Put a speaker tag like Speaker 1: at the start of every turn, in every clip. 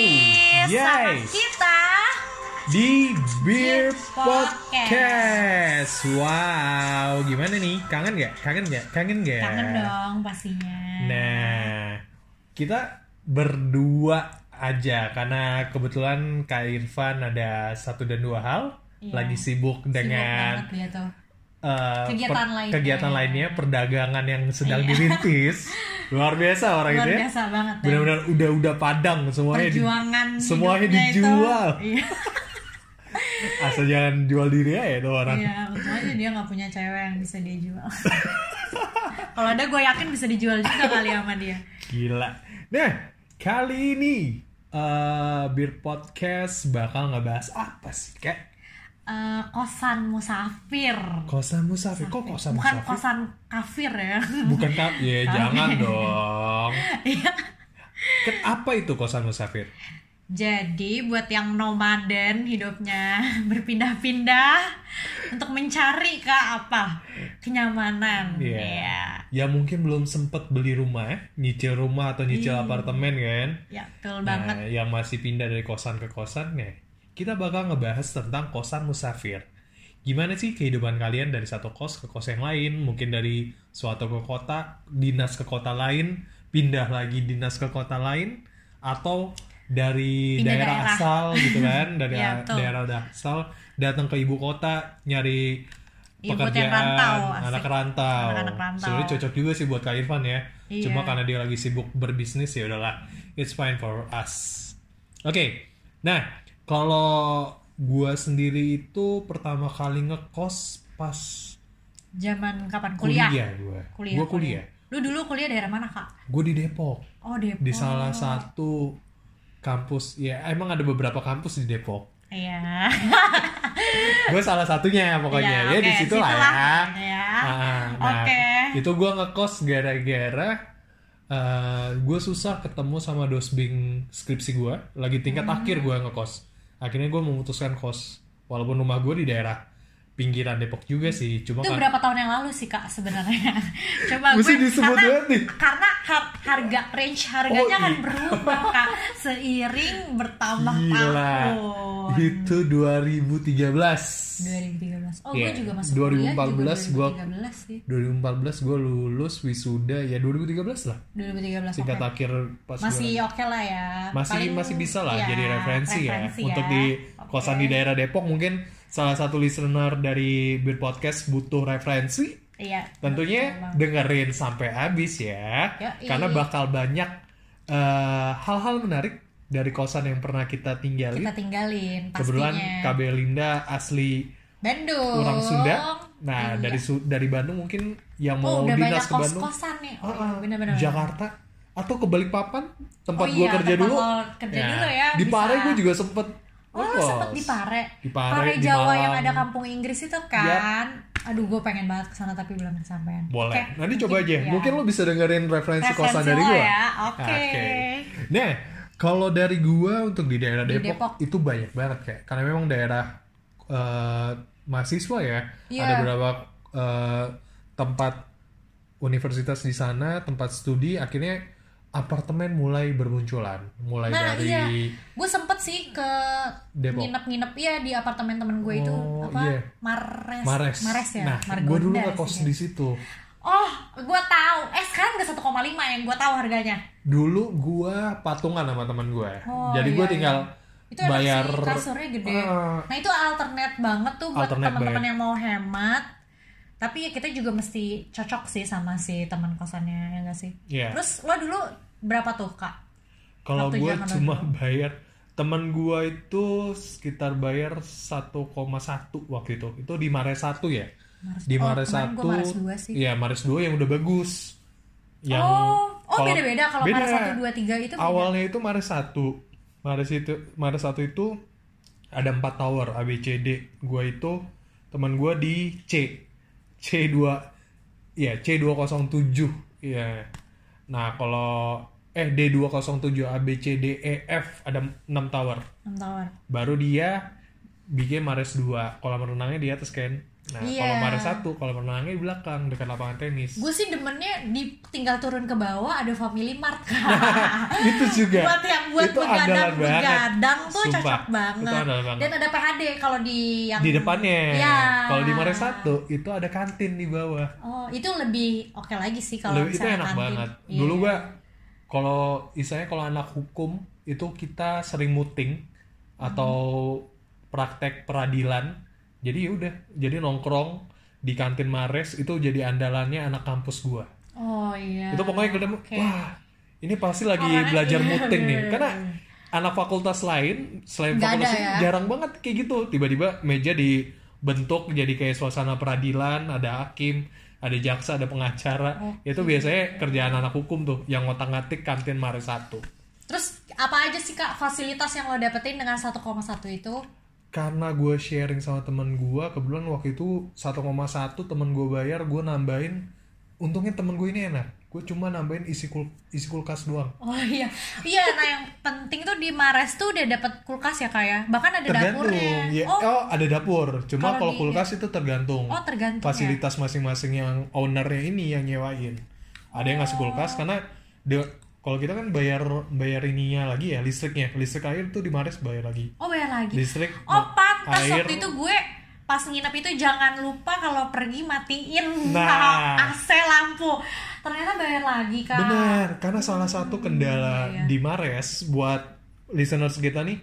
Speaker 1: podcast sama
Speaker 2: Yes.
Speaker 1: kita.
Speaker 2: di
Speaker 1: Beer
Speaker 2: Beer Podcast. Wow, gimana nih? Kangen gak? Kangen gak? Kangen gak?
Speaker 1: Kangen dong pastinya.
Speaker 2: Nah, kita berdua aja karena kebetulan Kak Irfan ada satu dan dua hal
Speaker 1: Iya.
Speaker 2: lagi sibuk
Speaker 1: Sibuk
Speaker 2: dengan
Speaker 1: banget dia tuh. ya,
Speaker 2: eh,
Speaker 1: Kegiatan lainnya.
Speaker 2: kegiatan lainnya, perdagangan yang sedang
Speaker 1: Iya.
Speaker 2: dirintis. Luar biasa orang
Speaker 1: Luar
Speaker 2: itu ya.
Speaker 1: biasa banget. Dan
Speaker 2: Benar-benar udah-udah padang semuanya. di-
Speaker 1: perjuangan
Speaker 2: semuanya
Speaker 1: hidupnya itu.
Speaker 2: dijual.
Speaker 1: Iya.
Speaker 2: Asal jangan jual diri aja tuh orang.
Speaker 1: Iya, untung aja dia nggak punya cewek yang bisa dia jual. Kalau ada gue yakin bisa dijual juga kali ya sama dia.
Speaker 2: Gila. Nah, kali ini eh Beer Podcast bakal ngebahas apa sih, Kak?
Speaker 1: Eh, kosan musafir.
Speaker 2: Kosan musafir. Kok kosan
Speaker 1: Bukan
Speaker 2: musafir?
Speaker 1: kosan kafir ya.
Speaker 2: Bukan ka- Ya,
Speaker 1: Tapi-
Speaker 2: jangan dong.
Speaker 1: Iya.
Speaker 2: Kan apa itu kosan musafir?
Speaker 1: Jadi buat yang nomaden hidupnya berpindah-pindah untuk mencari ke apa kenyamanan.
Speaker 2: Iya.
Speaker 1: Iya.
Speaker 2: Ya mungkin belum sempet beli rumah, eh. nyicil rumah atau nyicil
Speaker 1: Iya.
Speaker 2: apartemen kan?
Speaker 1: Ya, betul banget.
Speaker 2: Nah, yang masih pindah dari kosan ke kosan nih, kita bakal ngebahas tentang kosan musafir. Gimana sih kehidupan kalian dari satu kos ke kos yang lain? Mungkin dari suatu ke kota, dinas ke kota lain, pindah lagi dinas ke kota lain, atau dari
Speaker 1: Pindah
Speaker 2: daerah,
Speaker 1: daerah.
Speaker 2: asal gitu kan, dari
Speaker 1: Iya, betul.
Speaker 2: daerah asal datang ke ibu kota nyari
Speaker 1: Ibu yang
Speaker 2: pekerjaan
Speaker 1: rantau, asik.
Speaker 2: anak rantau.
Speaker 1: Anak-anak rantau.
Speaker 2: Sebenarnya cocok juga sih buat Kak Irfan ya.
Speaker 1: Iya.
Speaker 2: Cuma karena dia lagi sibuk berbisnis ya udahlah. It's fine for us. Oke. Nah, kalau gua sendiri itu pertama kali ngekos pas
Speaker 1: Zaman kapan kuliah?
Speaker 2: kuliah, gua.
Speaker 1: Kuliah.
Speaker 2: gua kuliah.
Speaker 1: Lu dulu kuliah daerah mana, Kak?
Speaker 2: Gua di Depok.
Speaker 1: Oh, Depok.
Speaker 2: Di salah satu kampus. Ya, emang ada beberapa kampus di Depok.
Speaker 1: Iya.
Speaker 2: Gue salah satunya pokoknya.
Speaker 1: Iya,
Speaker 2: Ya, di
Speaker 1: oke,
Speaker 2: situ lah ya.
Speaker 1: situlah. Iya.
Speaker 2: Ah, nah,
Speaker 1: Oke.
Speaker 2: itu gue ngekos gara-gara eh gue susah ketemu sama dosbing skripsi gue lagi tingkat
Speaker 1: Hmm.
Speaker 2: akhir gue ngekos akhirnya gue memutuskan kos walaupun rumah gue di daerah pinggiran Depok juga sih cuma
Speaker 1: Itu
Speaker 2: kan-
Speaker 1: berapa tahun yang lalu sih kak sebenarnya? Coba
Speaker 2: Mesti
Speaker 1: gue
Speaker 2: disebut
Speaker 1: karena,
Speaker 2: banget nih.
Speaker 1: karena har- harga range harganya
Speaker 2: Oh,
Speaker 1: kan
Speaker 2: iya.
Speaker 1: berubah kak seiring bertambah
Speaker 2: gila
Speaker 1: tahun.
Speaker 2: itu 2013
Speaker 1: 2013. Oh
Speaker 2: Iya.
Speaker 1: gue juga masuk
Speaker 2: 2014
Speaker 1: kuliah
Speaker 2: gua-
Speaker 1: juga 2013 sih.
Speaker 2: 2014 gue lulus wisuda ya 2013 lah
Speaker 1: 2013.
Speaker 2: tingkat
Speaker 1: oke.
Speaker 2: akhir pas gua-
Speaker 1: Masih oke lah ya.
Speaker 2: masih
Speaker 1: Paling-
Speaker 2: masih bisa lah
Speaker 1: iya,
Speaker 2: jadi referensi,
Speaker 1: referensi
Speaker 2: ya untuk di
Speaker 1: Oke.
Speaker 2: kosan di daerah Depok mungkin salah satu listener dari Beer Podcast butuh referensi
Speaker 1: Iya. betul
Speaker 2: tentunya
Speaker 1: banget.
Speaker 2: dengerin sampai habis ya
Speaker 1: Yoi.
Speaker 2: karena bakal banyak eh, hal-hal menarik dari kosan yang pernah kita tinggali
Speaker 1: kita tinggalin pastinya.
Speaker 2: kebetulan KB Linda asli
Speaker 1: Bandung.
Speaker 2: orang Sunda nah
Speaker 1: Iya.
Speaker 2: dari Su- dari Bandung mungkin yang
Speaker 1: Oh,
Speaker 2: mau
Speaker 1: udah banyak
Speaker 2: dinas ke Bandung
Speaker 1: kos-kosan nih. Oh,
Speaker 2: Ah, ah,
Speaker 1: iya, bener-bener.
Speaker 2: Jakarta atau ke Balikpapan tempat
Speaker 1: Oh
Speaker 2: gue
Speaker 1: iya,
Speaker 2: kerja
Speaker 1: tempat
Speaker 2: dulu. Iya.
Speaker 1: lo kerja dulu ya,
Speaker 2: Di
Speaker 1: bisa.
Speaker 2: Pare gue juga sempet.
Speaker 1: Oh, lu
Speaker 2: ngekos.
Speaker 1: sempet di Pare.
Speaker 2: Di Pare, di
Speaker 1: Jawa
Speaker 2: Malang. Iya.
Speaker 1: yang ada kampung Inggris itu kan. Aduh, gue pengen banget kesana tapi belum kesampaian.
Speaker 2: Boleh.
Speaker 1: Kayak
Speaker 2: Nanti coba aja.
Speaker 1: ya.
Speaker 2: Mungkin lo bisa dengerin referensi,
Speaker 1: Referensi
Speaker 2: kosan dari
Speaker 1: lo
Speaker 2: gue.
Speaker 1: ya, oke.
Speaker 2: Nah, kalau dari gue untuk di daerah
Speaker 1: Di
Speaker 2: Depok,
Speaker 1: Depok.
Speaker 2: itu banyak banget kayak karena memang daerah eh, mahasiswa ya.
Speaker 1: Iya.
Speaker 2: Ada beberapa eh, tempat universitas di sana, tempat studi akhirnya apartemen mulai bermunculan, mulai
Speaker 1: Nah,
Speaker 2: dari
Speaker 1: iya. Gue sempet sih ke
Speaker 2: Depok.
Speaker 1: nginep-nginep ya di apartemen temen gue itu
Speaker 2: Oh,
Speaker 1: apa?
Speaker 2: iya.
Speaker 1: Mares.
Speaker 2: Mares.
Speaker 1: ya.
Speaker 2: Nah, gue
Speaker 1: Margonda
Speaker 2: dulu
Speaker 1: sih
Speaker 2: ngekos
Speaker 1: dia.
Speaker 2: di situ.
Speaker 1: Oh, gue tahu. Eh, sekarang udah 1,5 yang gue tahu harganya.
Speaker 2: Dulu gue patungan sama teman gue.
Speaker 1: Oh,
Speaker 2: Jadi gue
Speaker 1: iya,
Speaker 2: tinggal
Speaker 1: Itu enak
Speaker 2: bayar
Speaker 1: sih, kasurnya gede.
Speaker 2: Ah,
Speaker 1: Nah itu alternate banget tuh buat
Speaker 2: Alternate
Speaker 1: teman-teman
Speaker 2: banget.
Speaker 1: yang mau hemat. Tapi ya kita juga mesti cocok sih sama si teman kosannya ya nggak sih?
Speaker 2: Iya.
Speaker 1: Terus lo dulu berapa tuh kak?
Speaker 2: Kalau
Speaker 1: Waktu
Speaker 2: gue
Speaker 1: zaman
Speaker 2: cuma bayar teman gue itu sekitar bayar 1,1 waktu itu. Itu di Mares 1 ya.
Speaker 1: Mares-
Speaker 2: Di
Speaker 1: oh,
Speaker 2: Mares
Speaker 1: kemarin
Speaker 2: 1.
Speaker 1: gua Mares 2 sih.
Speaker 2: Iya, Mares 2 yang udah bagus. Yang
Speaker 1: oh, oh
Speaker 2: kalau-
Speaker 1: beda-beda kalau
Speaker 2: Beda.
Speaker 1: Mares satu dua tiga itu beda.
Speaker 2: Awalnya itu Mares 1. Mares itu Mares 1 itu ada 4 tower A B C D. Gua itu teman gua di C. C2 ya C207. Iya. Nah, kalau eh D207 A B C D E F ada 6 tower.
Speaker 1: Enam tower.
Speaker 2: Baru dia bikin Mares 2. Kolam renangnya di atas kan. Nah,
Speaker 1: Iya.
Speaker 2: kalau Mada satu, kalau menangnya di belakang dekat lapangan tenis.
Speaker 1: Gue sih demennya di tinggal turun ke bawah ada Family Mart. Kak.
Speaker 2: itu juga.
Speaker 1: buat yang buat
Speaker 2: Nah, itu andalan
Speaker 1: begadang
Speaker 2: banget.
Speaker 1: begadang tuh
Speaker 2: Sumpah,
Speaker 1: cocok banget.
Speaker 2: Itu andalan banget.
Speaker 1: Dan ada PHD kalau di yang
Speaker 2: di depannya.
Speaker 1: Iya.
Speaker 2: Kalau di Mada satu itu ada kantin di bawah.
Speaker 1: Oh, itu lebih oke lagi sih kalau
Speaker 2: Lebih, itu
Speaker 1: misalnya
Speaker 2: enak
Speaker 1: kantin.
Speaker 2: banget.
Speaker 1: Iya.
Speaker 2: Dulu gua kalau istilahnya kalau anak hukum itu kita sering muting atau praktek peradilan. Jadi ya udah, jadi nongkrong di kantin Mares itu jadi andalannya anak kampus gua.
Speaker 1: Oh iya.
Speaker 2: itu pokoknya gue nemu,
Speaker 1: Oke.
Speaker 2: wah ini pasti lagi
Speaker 1: Orangnya-
Speaker 2: belajar
Speaker 1: iya,
Speaker 2: muting nih
Speaker 1: bener.
Speaker 2: karena anak fakultas lain selain
Speaker 1: Nggak ada
Speaker 2: fakultas ini
Speaker 1: ya.
Speaker 2: jarang banget kayak gitu tiba-tiba meja dibentuk jadi kayak suasana peradilan ada hakim ada jaksa ada pengacara itu biasanya kerjaan anak hukum tuh yang ngotak-ngatik kantin mare satu
Speaker 1: Terus apa aja sih Kak fasilitas yang lo dapetin dengan 1,1 itu?
Speaker 2: karena gue sharing sama temen gue kebetulan waktu itu 1,1 temen gue bayar gue nambahin untungnya temen gue ini enak gue cuma nambahin isi kul isi kulkas doang
Speaker 1: Oh iya. Iya, nah yang penting tuh di Mares tuh udah dapet kulkas ya Kak ya. Bahkan ada
Speaker 2: tergantung
Speaker 1: dapurnya.
Speaker 2: ya oh,
Speaker 1: Oh,
Speaker 2: ada dapur cuma
Speaker 1: Kalau
Speaker 2: kalau
Speaker 1: di-
Speaker 2: kulkas itu tergantung
Speaker 1: Oh, tergantung ya?
Speaker 2: fasilitas masing-masing yang ownernya ini yang nyewain ada yang ngasih
Speaker 1: Oh.
Speaker 2: kulkas karena dia- kalau kita kan bayar bayar ininya lagi ya listriknya listrik air tuh di Mares bayar lagi
Speaker 1: oh bayar lagi.
Speaker 2: listrik
Speaker 1: Oh
Speaker 2: ma-
Speaker 1: pantas
Speaker 2: Nah, air
Speaker 1: waktu itu gue pas nginep itu jangan lupa kalau pergi matiin
Speaker 2: Nah.
Speaker 1: AC lampu. Ternyata bayar lagi kak.
Speaker 2: benar karena salah satu
Speaker 1: Hmm,
Speaker 2: kendala
Speaker 1: iya.
Speaker 2: di Mares buat listeners kita nih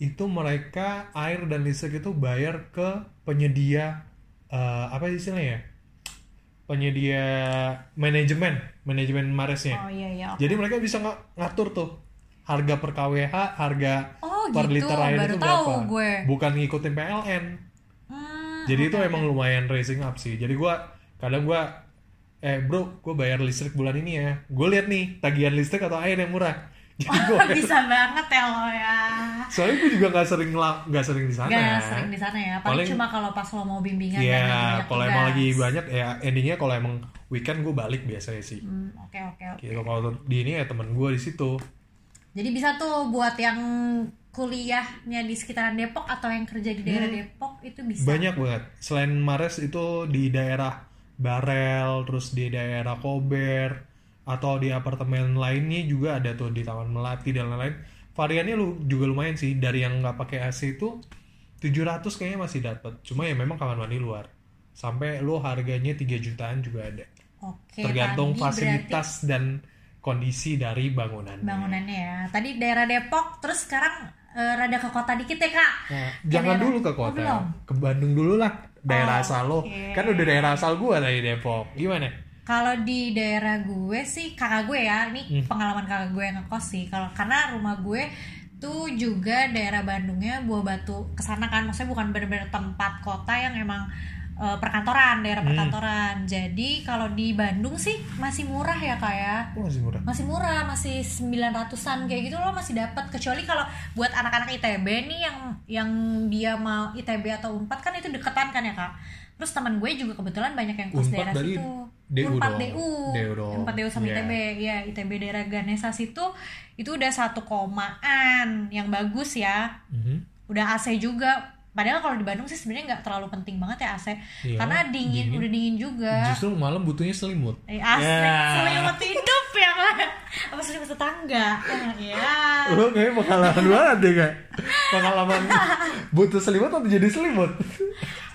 Speaker 2: itu mereka air dan listrik itu bayar ke penyedia eh, apa istilahnya ya penyedia manajemen manajemen Maresnya
Speaker 1: Oh iya iya.
Speaker 2: Jadi mereka bisa nga- ngatur tuh harga per KWH, harga
Speaker 1: Oh,
Speaker 2: per
Speaker 1: gitu.
Speaker 2: liter air
Speaker 1: Baru
Speaker 2: itu
Speaker 1: tahu
Speaker 2: berapa.
Speaker 1: gue.
Speaker 2: Bukan ngikutin PLN.
Speaker 1: Hmm,
Speaker 2: Jadi itu emang lumayan racing up sih. Jadi gua kadang gua eh bro, gue bayar listrik bulan ini ya. Gue lihat nih tagihan listrik atau air yang murah. Jadi gue
Speaker 1: bisa banget ya lo ya.
Speaker 2: soalnya gue juga nggak sering ngela- nggak sering di sana.
Speaker 1: Gak sering di sana ya. Paling,
Speaker 2: Paling-
Speaker 1: cuma kalau pas lo mau bimbingan. dan
Speaker 2: Iya,
Speaker 1: lagi banyak
Speaker 2: kalau emang
Speaker 1: tugas.
Speaker 2: lagi banyak ya endingnya kalau emang weekend gue balik biasanya sih.
Speaker 1: Hmm, Oke oke. oke.
Speaker 2: Gitu kalau di ini ya temen gue di situ.
Speaker 1: Jadi bisa tuh buat yang kuliahnya di sekitaran Depok atau yang kerja di daerah Depok itu bisa.
Speaker 2: Hmm. banyak banget selain Mares itu di daerah Barel terus di daerah Kober atau di apartemen lainnya juga ada tuh di Taman Melati dan lain-lain variannya lu juga lumayan sih dari yang nggak pakai AC itu 700 kayaknya masih dapat cuma ya memang kamar mandi luar sampai lu harganya 3 jutaan juga ada
Speaker 1: Oke.
Speaker 2: tergantung
Speaker 1: tadi berarti
Speaker 2: fasilitas dan kondisi dari bangunan
Speaker 1: bangunannya ya. Tadi daerah Depok, terus sekarang eh, rada ke kota dikit ya kak.
Speaker 2: Nah, jangan
Speaker 1: daerah-
Speaker 2: dulu ke
Speaker 1: Oh,
Speaker 2: kota
Speaker 1: belum? Ah,
Speaker 2: ke Bandung dulu lah daerah asal lo
Speaker 1: oke.
Speaker 2: kan udah daerah asal gua dari Depok gimana
Speaker 1: Kalau di daerah gue sih kakak gue ya,
Speaker 2: Hmm.
Speaker 1: ini pengalaman kakak gue yang ngekos sih. Kalau karena rumah gue tuh juga daerah Bandungnya Buah Batu kesana kan, maksudnya bukan bener-bener tempat kota yang emang eh, perkantoran, daerah
Speaker 2: Hmm.
Speaker 1: perkantoran. Jadi kalau di Bandung sih masih murah ya kak ya.
Speaker 2: Oh, masih murah
Speaker 1: masih murah masih 900-an kayak gitu loh masih dapat kecuali kalau buat anak-anak ITB nih yang yang dia mau ITB atau Unpad kan itu deketan kan ya Kak terus teman gue juga kebetulan banyak yang kos
Speaker 2: Unpad
Speaker 1: daerah
Speaker 2: dari
Speaker 1: situ
Speaker 2: DU
Speaker 1: Unpad
Speaker 2: dong.
Speaker 1: DU
Speaker 2: DU dong.
Speaker 1: Unpad DU sama
Speaker 2: Iya.
Speaker 1: ITB ya ITB daerah Ganesa situ itu udah satu komaan yang bagus ya
Speaker 2: Mhm.
Speaker 1: udah AC juga padahal kalau di Bandung sih sebenarnya nggak terlalu penting banget ya AC
Speaker 2: Iya,
Speaker 1: karena dingin,
Speaker 2: dingin.
Speaker 1: udah dingin juga
Speaker 2: justru malam butuhnya selimut
Speaker 1: Eh, asik,
Speaker 2: Ya.
Speaker 1: selimut hidup ya kan? Apa selimut tetangga? Ya.
Speaker 2: lo kayak pengalaman banget deh kak pengalaman butuh selimut atau jadi selimut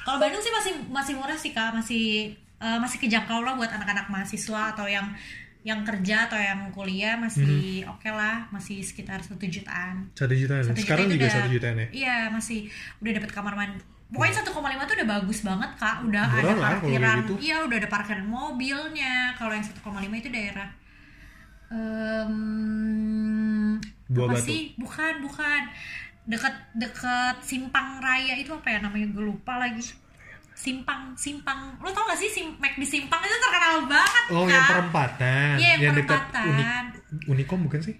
Speaker 1: Kalau Bandung sih masih masih murah sih kak, masih eh, masih kejangkau lah buat anak-anak mahasiswa atau yang yang kerja atau yang kuliah masih oke lah, masih sekitar satu jutaan.
Speaker 2: satu jutaan
Speaker 1: Satu juta
Speaker 2: sekarang
Speaker 1: itu
Speaker 2: juga
Speaker 1: udah-
Speaker 2: satu jutaan ya
Speaker 1: Iya masih udah dapat kamar mandi. Pokoknya 1,5 tuh udah bagus banget kak, udah ada
Speaker 2: Murah lah kalau kayak
Speaker 1: parkiran,
Speaker 2: gitu.
Speaker 1: iya udah ada parkiran mobilnya. Kalau yang 1,5 itu daerah em
Speaker 2: Buah
Speaker 1: apa
Speaker 2: Batu.
Speaker 1: sih? Bukan bukan deket deket simpang raya itu apa ya namanya gue lupa lagi. Simpang simpang, lo tau gak sih sim Mac di simpang itu terkenal banget
Speaker 2: oh
Speaker 1: kak?
Speaker 2: yang perempatan
Speaker 1: Iya, yang
Speaker 2: dekat
Speaker 1: perempatan.
Speaker 2: unik unikom bukan sih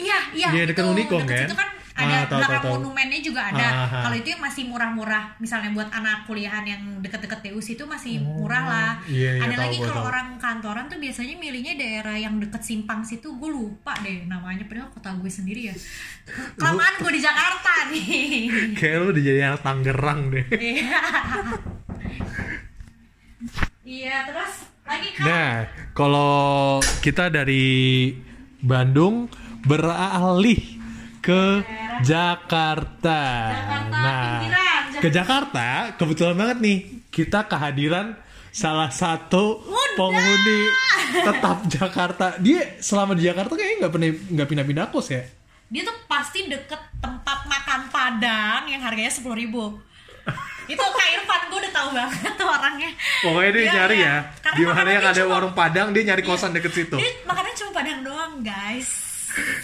Speaker 1: Iya, iya.
Speaker 2: Iya, dekat
Speaker 1: itu.
Speaker 2: Unicom,
Speaker 1: Dekat
Speaker 2: kan?
Speaker 1: situ kan
Speaker 2: Ah,
Speaker 1: ada
Speaker 2: tahu,
Speaker 1: belakang
Speaker 2: tahu, tahu.
Speaker 1: monumennya juga ada.
Speaker 2: Ah, ah.
Speaker 1: Kalau itu yang masih murah-murah, misalnya buat anak kuliahan yang dekat-dekat TU itu masih
Speaker 2: Oh,
Speaker 1: murah lah.
Speaker 2: iya, iya,
Speaker 1: ada
Speaker 2: tahu,
Speaker 1: lagi
Speaker 2: gua
Speaker 1: kalau
Speaker 2: tahu.
Speaker 1: orang kantoran tuh biasanya milihnya daerah yang deket simpang situ, gue lupa deh namanya. Padahal kota gue sendiri ya. Kelamaan gue di Jakarta nih.
Speaker 2: kayak lu udah jadi anak Tangerang deh
Speaker 1: Iya. Iya, terus lagi kan
Speaker 2: Nah, kalau kita dari Bandung beralih ke Jakarta.
Speaker 1: Jakarta
Speaker 2: Nah,
Speaker 1: pinggiran, Jakarta.
Speaker 2: ke Jakarta kebetulan banget nih kita kehadiran salah satu
Speaker 1: Muda!
Speaker 2: penghuni tetap Jakarta. Dia selama di Jakarta kayaknya nggak pernah nggak pindah-pindah kos ya.
Speaker 1: dia tuh pasti deket tempat makan Padang yang harganya sepuluh ribu. itu Kak Irfan gue udah tahu banget tuh orangnya.
Speaker 2: Pokoknya dia
Speaker 1: Iya,
Speaker 2: nyari
Speaker 1: iya.
Speaker 2: ya.
Speaker 1: Karena
Speaker 2: Gimana yang
Speaker 1: makanannya
Speaker 2: ada
Speaker 1: cuma- Iya.
Speaker 2: warung Padang dia nyari kosan deket situ.
Speaker 1: Dia makannya cuma Padang doang guys.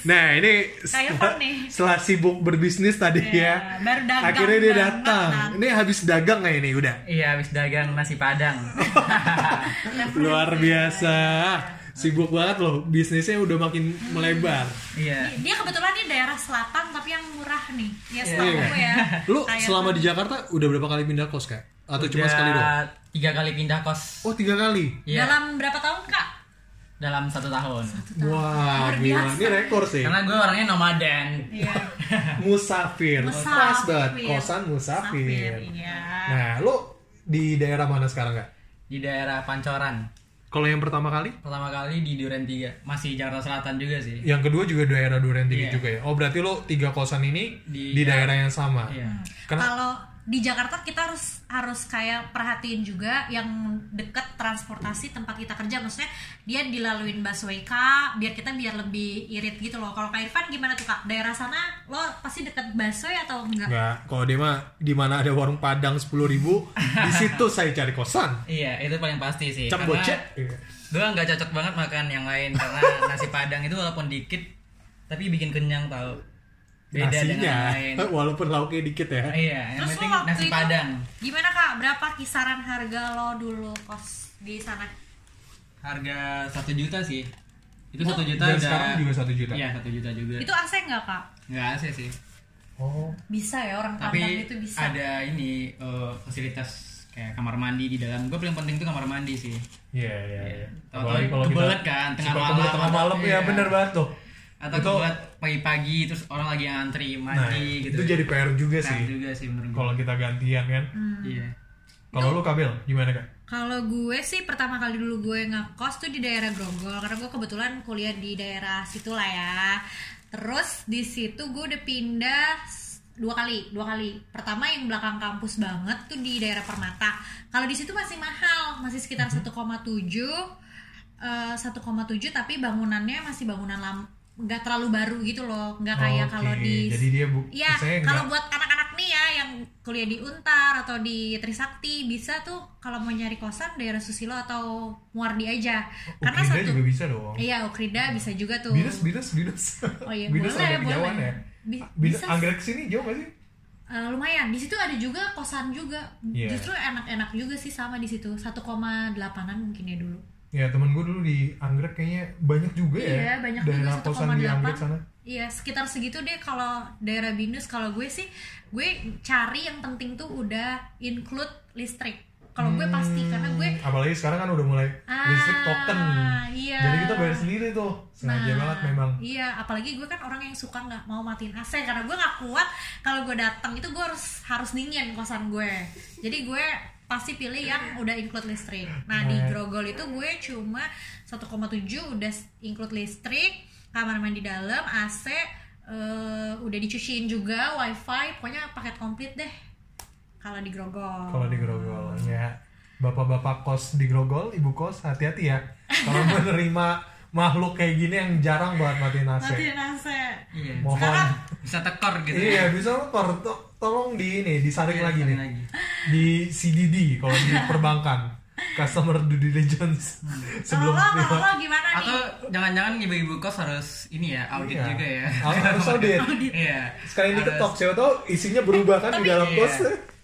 Speaker 2: Nah ini
Speaker 1: Kayak
Speaker 2: setelah,
Speaker 1: apa nih?
Speaker 2: setelah sibuk berbisnis tadi
Speaker 1: Iya,
Speaker 2: ya,
Speaker 1: baru dagang,
Speaker 2: akhirnya dia
Speaker 1: baru
Speaker 2: datang.
Speaker 1: makan.
Speaker 2: Ini habis dagang nggak ini udah?
Speaker 3: Iya, habis dagang nasi padang.
Speaker 2: Luar biasa, Ah, sibuk banget loh. Bisnisnya udah makin melebar.
Speaker 3: iya.
Speaker 1: Dia kebetulan di daerah selatan tapi yang murah nih. Ya
Speaker 3: Iya,
Speaker 1: setahu
Speaker 2: iya.
Speaker 1: gue ya.
Speaker 2: Lu
Speaker 1: Kayak-
Speaker 2: selama di Jakarta udah berapa kali pindah kos kak? Atau cuma sekali doang?
Speaker 3: Udah Tiga kali pindah kos.
Speaker 2: Oh tiga kali.
Speaker 3: Iya,
Speaker 1: Dalam berapa tahun Kak?
Speaker 3: dalam satu tahun.
Speaker 2: Wah
Speaker 1: Luar
Speaker 2: gila,
Speaker 1: biasa.
Speaker 2: ini rekor sih.
Speaker 3: Karena gue orangnya nomaden.
Speaker 1: Iya.
Speaker 2: Musafir, pas banget
Speaker 1: Musafir,
Speaker 2: kosan musafir.
Speaker 1: Iya.
Speaker 2: Nah lu di daerah mana sekarang kak?
Speaker 3: Di daerah Pancoran.
Speaker 2: Kalau yang pertama kali?
Speaker 3: Pertama kali di Duren 3. Masih Jakarta Selatan juga sih.
Speaker 2: Yang kedua juga daerah Duren Tinggi
Speaker 3: Iya.
Speaker 2: juga ya. Oh berarti lo tiga kosan ini di,
Speaker 3: Di-
Speaker 2: daerah yang sama.
Speaker 3: Iya.
Speaker 2: Karena
Speaker 1: Kalau di Jakarta kita harus harus kayak perhatiin juga yang deket transportasi tempat kita kerja maksudnya dia dilaluin busway kak biar kita biar lebih irit gitu loh kalau kak Irfan gimana tuh kak daerah sana lo pasti deket busway atau enggak
Speaker 2: nggak kalau dia mah di mana ada warung Padang sepuluh ribu di situ saya cari kosan.
Speaker 3: Iya, itu paling pasti sih.
Speaker 2: Cap
Speaker 3: Karena
Speaker 2: gocek. Iya.
Speaker 3: gue nggak cocok banget makan yang lain karena nasi padang itu walaupun dikit tapi bikin kenyang tau. Beda dengan
Speaker 2: Nasinya,
Speaker 3: yang lain.
Speaker 2: walaupun lauknya dikit ya.
Speaker 3: Iya, yang
Speaker 1: terus lo
Speaker 3: penting
Speaker 1: waktu
Speaker 3: nasi
Speaker 1: itu
Speaker 3: padang.
Speaker 1: gimana kak berapa kisaran harga lo dulu kos di sana
Speaker 3: Harga satu juta sih. Itu
Speaker 1: Oh.
Speaker 3: satu juta
Speaker 2: Nah, Dan
Speaker 3: udah.
Speaker 2: sekarang juga satu juta.
Speaker 3: Iya, satu juta juga.
Speaker 1: itu AC nggak kak
Speaker 3: Nggak AC sih.
Speaker 2: Oh,
Speaker 1: bisa ya orang Padang
Speaker 3: Tapi
Speaker 1: itu bisa
Speaker 3: ada ini eh, fasilitas kayak kamar mandi di dalam. Gue paling penting tuh kamar mandi sih.
Speaker 2: iya iya. iya.
Speaker 3: Tahu-tahu
Speaker 2: Apalagi kalau
Speaker 3: kebelet
Speaker 2: kita-
Speaker 3: kan, tengah
Speaker 2: suka
Speaker 3: malam.
Speaker 2: kebelet tengah malam ya
Speaker 3: Iya.
Speaker 2: bener banget tuh.
Speaker 3: Atau
Speaker 2: Itu-
Speaker 3: buat pagi-pagi terus orang lagi ngantri mandi
Speaker 2: Nah,
Speaker 3: gitu.
Speaker 2: itu jadi PR juga
Speaker 3: Keren
Speaker 2: sih.
Speaker 3: juga sih menurut gue.
Speaker 2: Kalau kita gantian kan.
Speaker 1: Hmm.
Speaker 3: Iya.
Speaker 2: Kalau lu kabel gimana kak?
Speaker 1: Kalau gue sih pertama kali dulu gue ngekos tuh di daerah Grogol karena gue kebetulan kuliah di daerah situ lah ya. Terus di situ gue udah pindah s- dua kali, dua kali. Pertama yang belakang kampus banget tuh di daerah Permata. Kalau di situ masih mahal, masih sekitar
Speaker 2: Mhm.
Speaker 1: 1,7 eh, 1,7 tapi bangunannya masih bangunan lama, nggak terlalu baru gitu loh, nggak kayak
Speaker 2: Oke,
Speaker 1: kalau di
Speaker 2: jadi dia bu,
Speaker 1: Iya,
Speaker 2: saya nggak-
Speaker 1: kalau buat anak-anak nih ya yang kuliah di Untar atau di Trisakti bisa tuh kalau mau nyari kosan daerah Susilo atau Muardi aja. Karena
Speaker 2: Oh, Ukrida
Speaker 1: satu
Speaker 2: juga bisa dong.
Speaker 1: Iya, Ukrida bisa juga tuh.
Speaker 2: Binus, binus, binus.
Speaker 1: Gitu. Oh iya,
Speaker 2: binus
Speaker 1: boleh,
Speaker 2: ada kejauhan
Speaker 1: boleh.
Speaker 2: ya.
Speaker 1: Bi-
Speaker 2: binus,
Speaker 1: bisa-
Speaker 2: anggrek sini jauh gak sih?
Speaker 1: Eh, lumayan. Di situ ada juga kosan juga.
Speaker 2: Iya.
Speaker 1: Justru enak-enak juga sih sama di situ. 1,8an mungkin ya dulu.
Speaker 2: Ya temen gue dulu di anggrek kayaknya banyak juga ya.
Speaker 1: Iya, banyak
Speaker 2: Daerah
Speaker 1: juga
Speaker 2: kosan di anggrek sana.
Speaker 1: 1,8. Iya, sekitar segitu deh kalau daerah Binus. Kalau gue sih, gue cari yang penting tuh udah include listrik. Kalau gue pasti karena gue
Speaker 2: Hmm, Apalagi sekarang kan udah mulai
Speaker 1: Ah,
Speaker 2: listrik token.
Speaker 1: iya.
Speaker 2: Jadi kita bayar sendiri tuh. Sengaja
Speaker 1: Nah,
Speaker 2: banget memang.
Speaker 1: Iya, apalagi gue kan orang yang suka nggak mau matiin AC karena gue nggak kuat kalau gue datang itu gue harus harus dingin kosan gue. Jadi gue pasti pilih yang udah include listrik. Nah, di
Speaker 2: Nah.
Speaker 1: Grogol itu gue cuma 1,7 udah include listrik, kamar mandi dalam, AC eh, udah dicuciin juga, wifi, pokoknya paket komplit deh. Kalau di Grogol.
Speaker 2: Kalau di Grogol ya. Bapak-bapak kos di Grogol, ibu kos hati-hati ya. Kalau menerima makhluk kayak gini yang jarang banget matiin AC.
Speaker 1: Matiin AC.
Speaker 3: Iya.
Speaker 2: Mohon.
Speaker 1: Sekarang
Speaker 3: Bisa tekor gitu. ya.
Speaker 2: Iya, bisa lo tor- to- tolong di ini disaring
Speaker 3: Iya,
Speaker 2: lagi
Speaker 3: disaring
Speaker 2: nih.
Speaker 3: lagi.
Speaker 2: Di CDD kalau di perbankan. Customer due diligence
Speaker 3: Hmm.
Speaker 1: Kalau lo,
Speaker 2: sebelum
Speaker 1: kalau
Speaker 2: terima.
Speaker 1: lo gimana nih?
Speaker 3: Atau jangan-jangan ibu-ibu kos harus ini ya, audit
Speaker 2: Iya.
Speaker 3: juga ya.
Speaker 2: Harus- harus audit.
Speaker 3: Iya.
Speaker 2: Sekali ini
Speaker 3: Harus.
Speaker 2: ketok, siapa tahu isinya berubah kan di
Speaker 1: Tapi-
Speaker 2: dalam
Speaker 3: Iya.
Speaker 2: kos.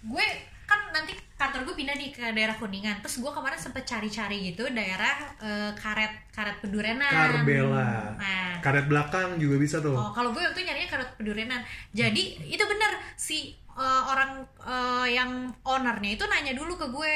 Speaker 1: gue kan nanti kantor gue pindah di ke daerah kuningan terus gue kemarin sempet cari-cari gitu daerah eh, karet karet pedurenan
Speaker 2: Karbela.
Speaker 1: nah
Speaker 2: Karet belakang juga bisa tuh.
Speaker 1: oh, kalau gue waktu nyarinya karet pedurenan jadi itu bener si eh, orang eh, yang ownernya itu nanya dulu ke gue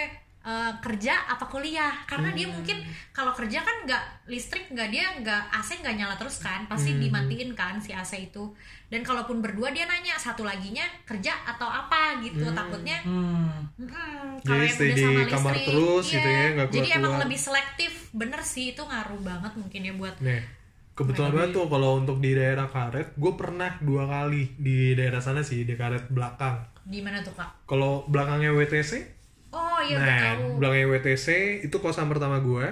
Speaker 1: "Eh, eh, kerja apa kuliah karena dia mungkin kalau kerja kan nggak listrik nggak dia nggak AC nggak nyala terus kan pasti dimatiin kan si AC itu dan kalaupun berdua dia nanya satu laginya kerja atau apa gitu takutnya
Speaker 3: Hmm.
Speaker 1: Mm,
Speaker 2: Jadi stay di kamar terus gitu ya, nggak
Speaker 1: iya. Jadi emang
Speaker 2: keluar-keluar.
Speaker 1: lebih selektif, bener sih itu ngaruh banget mungkin ya buat.
Speaker 2: Nih, kebetulan banget tuh kalau untuk di daerah Karet, gue pernah dua kali di daerah sana sih, di Karet belakang.
Speaker 1: Gimana tuh kak?
Speaker 2: Kalau belakangnya WTC,
Speaker 1: Oh iya gue
Speaker 2: nah,
Speaker 1: tahu.
Speaker 2: belakangnya WTC itu kosan pertama gue.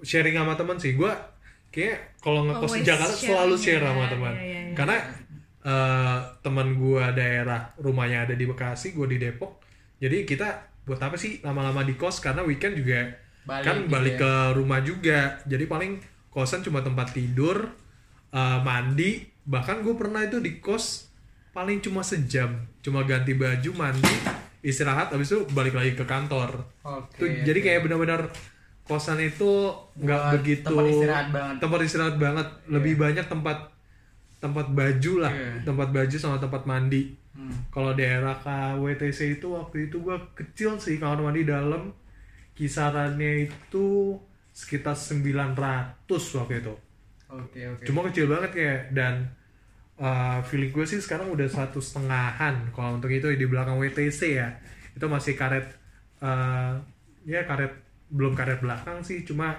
Speaker 2: Sharing sama teman sih, gue kayak kalau ngekos di
Speaker 1: Always
Speaker 2: Jakarta selalu
Speaker 1: sharing
Speaker 2: share
Speaker 1: ya,
Speaker 2: sama teman.
Speaker 1: iya, iya, iya.
Speaker 2: Karena eh, teman gue daerah rumahnya ada di Bekasi, gue di Depok. Jadi kita buat apa sih lama-lama di kos karena weekend juga
Speaker 3: Balik
Speaker 2: kan
Speaker 3: gitu
Speaker 2: balik
Speaker 3: ya.
Speaker 2: ke rumah juga. Jadi paling kosan cuma tempat tidur, eh, mandi. Bahkan gue pernah itu di kos paling cuma sejam, cuma ganti baju, mandi, istirahat, habis itu balik lagi ke kantor.
Speaker 3: Oke.
Speaker 2: Tuh, jadi kayak benar-benar kosan itu nggak
Speaker 3: Buat
Speaker 2: begitu
Speaker 3: tempat istirahat banget.
Speaker 2: tempat istirahat banget. lebih banyak tempat tempat baju lah
Speaker 3: Iya.
Speaker 2: tempat baju sama tempat mandi
Speaker 3: Hmm.
Speaker 2: kalau daerah KWTC itu waktu itu gua kecil sih kamar mandi dalam kisarannya itu sekitar 900 waktu itu
Speaker 3: Oke, oke.
Speaker 2: cuma kecil banget kayak dan uh, feeling gue sih sekarang udah satu setengahan kalau untuk itu di belakang WTC ya itu masih karet uh, ya karet belum karet belakang sih cuma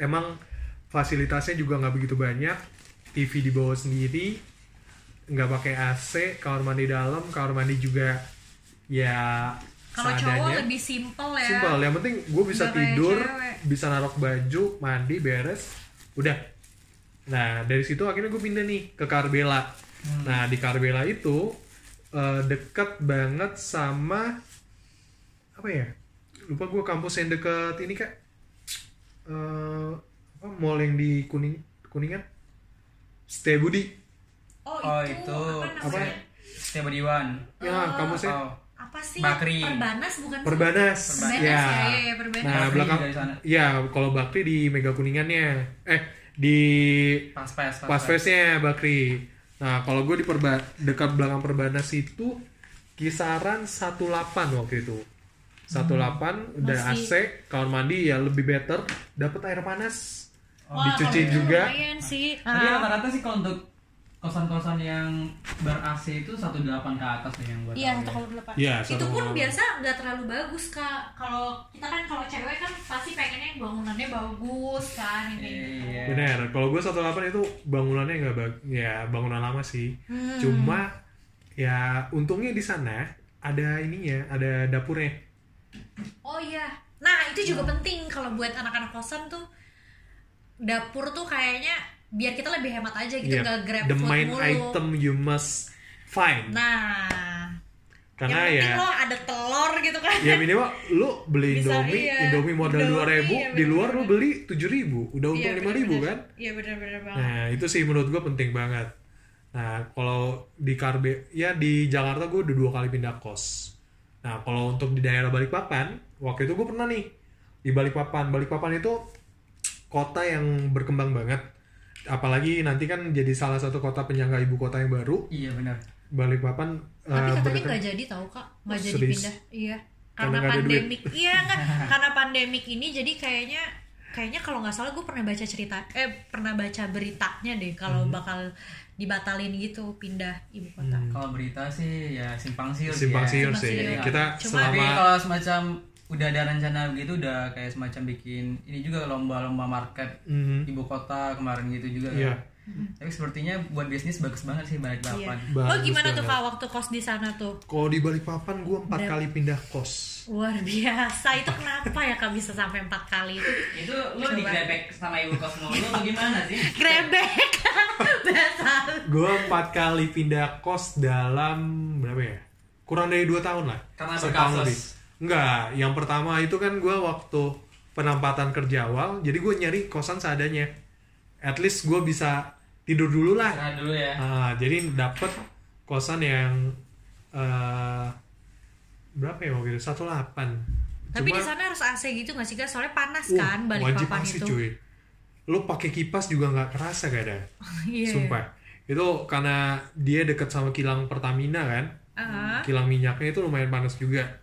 Speaker 2: emang fasilitasnya juga nggak begitu banyak TV di bawah sendiri nggak pakai AC kamar mandi dalam kamar mandi juga ya
Speaker 1: Kalau cowok
Speaker 2: seadanya
Speaker 1: lebih simple ya.
Speaker 2: simpel yang penting gue bisa
Speaker 1: Nggak kayak
Speaker 2: tidur
Speaker 1: cewek.
Speaker 2: bisa narok baju mandi beres udah nah dari situ akhirnya gue pindah nih ke Karbela
Speaker 1: Hmm.
Speaker 2: nah di Karbela itu eh, dekat banget sama apa ya lupa gue kampus yang deket ini kak Eh, apa mall yang di kuning kuningan Setia Budi
Speaker 1: Oh,
Speaker 3: Oh,
Speaker 1: itu,
Speaker 3: itu.
Speaker 1: apa namanya?
Speaker 3: Setiap Diwan.
Speaker 2: ya kampusnya
Speaker 3: Oh.
Speaker 1: Apa sih?
Speaker 3: Bakri.
Speaker 1: Perbanas bukan? sih?
Speaker 2: Perbanas,
Speaker 1: Perbanas ya, iya, iya, Perbanas.
Speaker 2: Nah,
Speaker 3: Bakri
Speaker 2: belakang
Speaker 3: juga di sana.
Speaker 2: Iya, kalau Bakri di Mega Kuningannya. Eh, di
Speaker 3: Pas pes,
Speaker 2: Pas Festnya Bakri. Nah, kalau gue di perba dekat belakang Perbanas itu kisaran 18 waktu itu. 18 udah AC,
Speaker 1: Hmm, Masih.
Speaker 2: kamar mandi ya lebih better, dapat air panas.
Speaker 1: Wah,
Speaker 2: dicuci
Speaker 1: Oh, kalau itu
Speaker 2: juga.
Speaker 1: Lumayan sih.
Speaker 3: Tapi
Speaker 1: Ah.
Speaker 3: rata-rata sih kalau untuk kosan-kosan yang ber AC itu 18 ke atas nih yang ya. buat
Speaker 1: Iya satu koma delapan.
Speaker 2: Iya,
Speaker 1: itu
Speaker 2: satu
Speaker 1: pun
Speaker 2: koma delapan.
Speaker 1: biasa nggak terlalu bagus kak. Kalau kita kan kalau cewek kan pasti pengennya bangunannya bagus kan ini.
Speaker 3: Iya.
Speaker 2: Bener, kalau gue 18 itu bangunannya nggak bag ya bangunan lama sih.
Speaker 1: Hmm.
Speaker 2: Cuma ya untungnya di sana ada ininya, ada dapurnya.
Speaker 1: Oh iya. Nah, itu
Speaker 2: Hmm.
Speaker 1: juga penting kalau buat anak-anak kosan tuh dapur tuh kayaknya biar kita lebih hemat aja gitu
Speaker 2: Iya,
Speaker 1: nggak grab
Speaker 2: the
Speaker 1: food
Speaker 2: main
Speaker 1: mulu.
Speaker 2: item you must find
Speaker 1: Nah,
Speaker 2: karena
Speaker 1: yang
Speaker 2: ya
Speaker 1: penting lo ada telur gitu kan.
Speaker 2: ya minimal lu beli
Speaker 1: Bisa,
Speaker 2: Indomie
Speaker 1: iya.
Speaker 2: Indomie modal
Speaker 1: Indomie,
Speaker 2: dua ribu
Speaker 1: iya,
Speaker 2: di luar lu
Speaker 1: bener-bener.
Speaker 2: beli tujuh ribu udah
Speaker 1: Iya,
Speaker 2: untung lima ribu
Speaker 1: bener-bener.
Speaker 2: kan
Speaker 1: Iya benar-benar banget.
Speaker 2: nah itu sih menurut gue penting banget nah kalau di Karbe ya di Jakarta gue udah dua kali pindah kos nah kalau untuk di daerah Balikpapan waktu itu gue pernah nih di Balikpapan Balikpapan itu kota yang berkembang banget apalagi nanti kan jadi salah satu kota penyangga ibu kota yang baru
Speaker 3: Iya benar.
Speaker 2: Balikpapan
Speaker 1: Tapi
Speaker 2: eh,
Speaker 1: katanya
Speaker 2: berkembang-
Speaker 1: nggak jadi tau kak, nggak
Speaker 2: Oh,
Speaker 1: jadi
Speaker 2: serius?
Speaker 1: pindah. Iya. Karena
Speaker 2: nggak ada duit.
Speaker 1: pandemik, iya kan? Karena pandemik ini jadi kayaknya kayaknya kalau nggak salah gue pernah baca cerita eh pernah baca beritanya deh kalau
Speaker 2: Hmm.
Speaker 1: bakal dibatalin gitu pindah ibu kota.
Speaker 3: Kalau berita sih ya simpang siur.
Speaker 2: simpang
Speaker 3: ya.
Speaker 2: siur
Speaker 1: Simpang
Speaker 2: sih
Speaker 1: siur.
Speaker 2: kita
Speaker 1: Cuma-
Speaker 3: Tapi
Speaker 2: selama
Speaker 3: kalau semacam udah ada rencana begitu udah kayak semacam bikin ini juga lomba-lomba market
Speaker 2: Mhm.
Speaker 3: ibu kota kemarin gitu juga. kan.
Speaker 2: Iya.
Speaker 3: Tapi sepertinya buat bisnis bagus banget sih balik
Speaker 1: Iya.
Speaker 3: delapan.
Speaker 1: Lo
Speaker 2: Bagus
Speaker 1: gimana tuh
Speaker 2: banget.
Speaker 1: kak waktu kos di sana tuh?
Speaker 2: kalau di Balikpapan gue empat kali pindah kos
Speaker 1: Luar biasa. Itu kenapa ya kak bisa sampai empat kali itu?
Speaker 3: Itu lu digrebek sama ibu kos mulu atau gimana sih?
Speaker 1: Grebek. Bahasa.
Speaker 2: gue empat kali pindah kos dalam berapa ya kurang dari dua tahun lah
Speaker 3: Karena
Speaker 2: Setahun
Speaker 3: berkasus.
Speaker 2: lebih. enggak yang pertama itu kan gue waktu penempatan kerja awal jadi gue nyari kosan seadanya at least gue bisa tidur dulu lah
Speaker 3: Nah dulu ya.
Speaker 2: Ah, jadi dapet kosan yang eh berapa ya waktu itu 18
Speaker 1: Tapi
Speaker 2: Cuma-
Speaker 1: di sana harus AC gitu nggak sih kak? Soalnya panas
Speaker 2: Wah,
Speaker 1: kan balik
Speaker 2: wajib
Speaker 1: papan
Speaker 2: AC,
Speaker 1: itu.
Speaker 2: cuy. Lu pakai kipas juga nggak kerasa kadang.
Speaker 1: Iya.
Speaker 2: Sumpah. Itu karena dia dekat sama kilang Pertamina kan.
Speaker 1: Ah.
Speaker 2: Kilang minyaknya itu lumayan panas juga.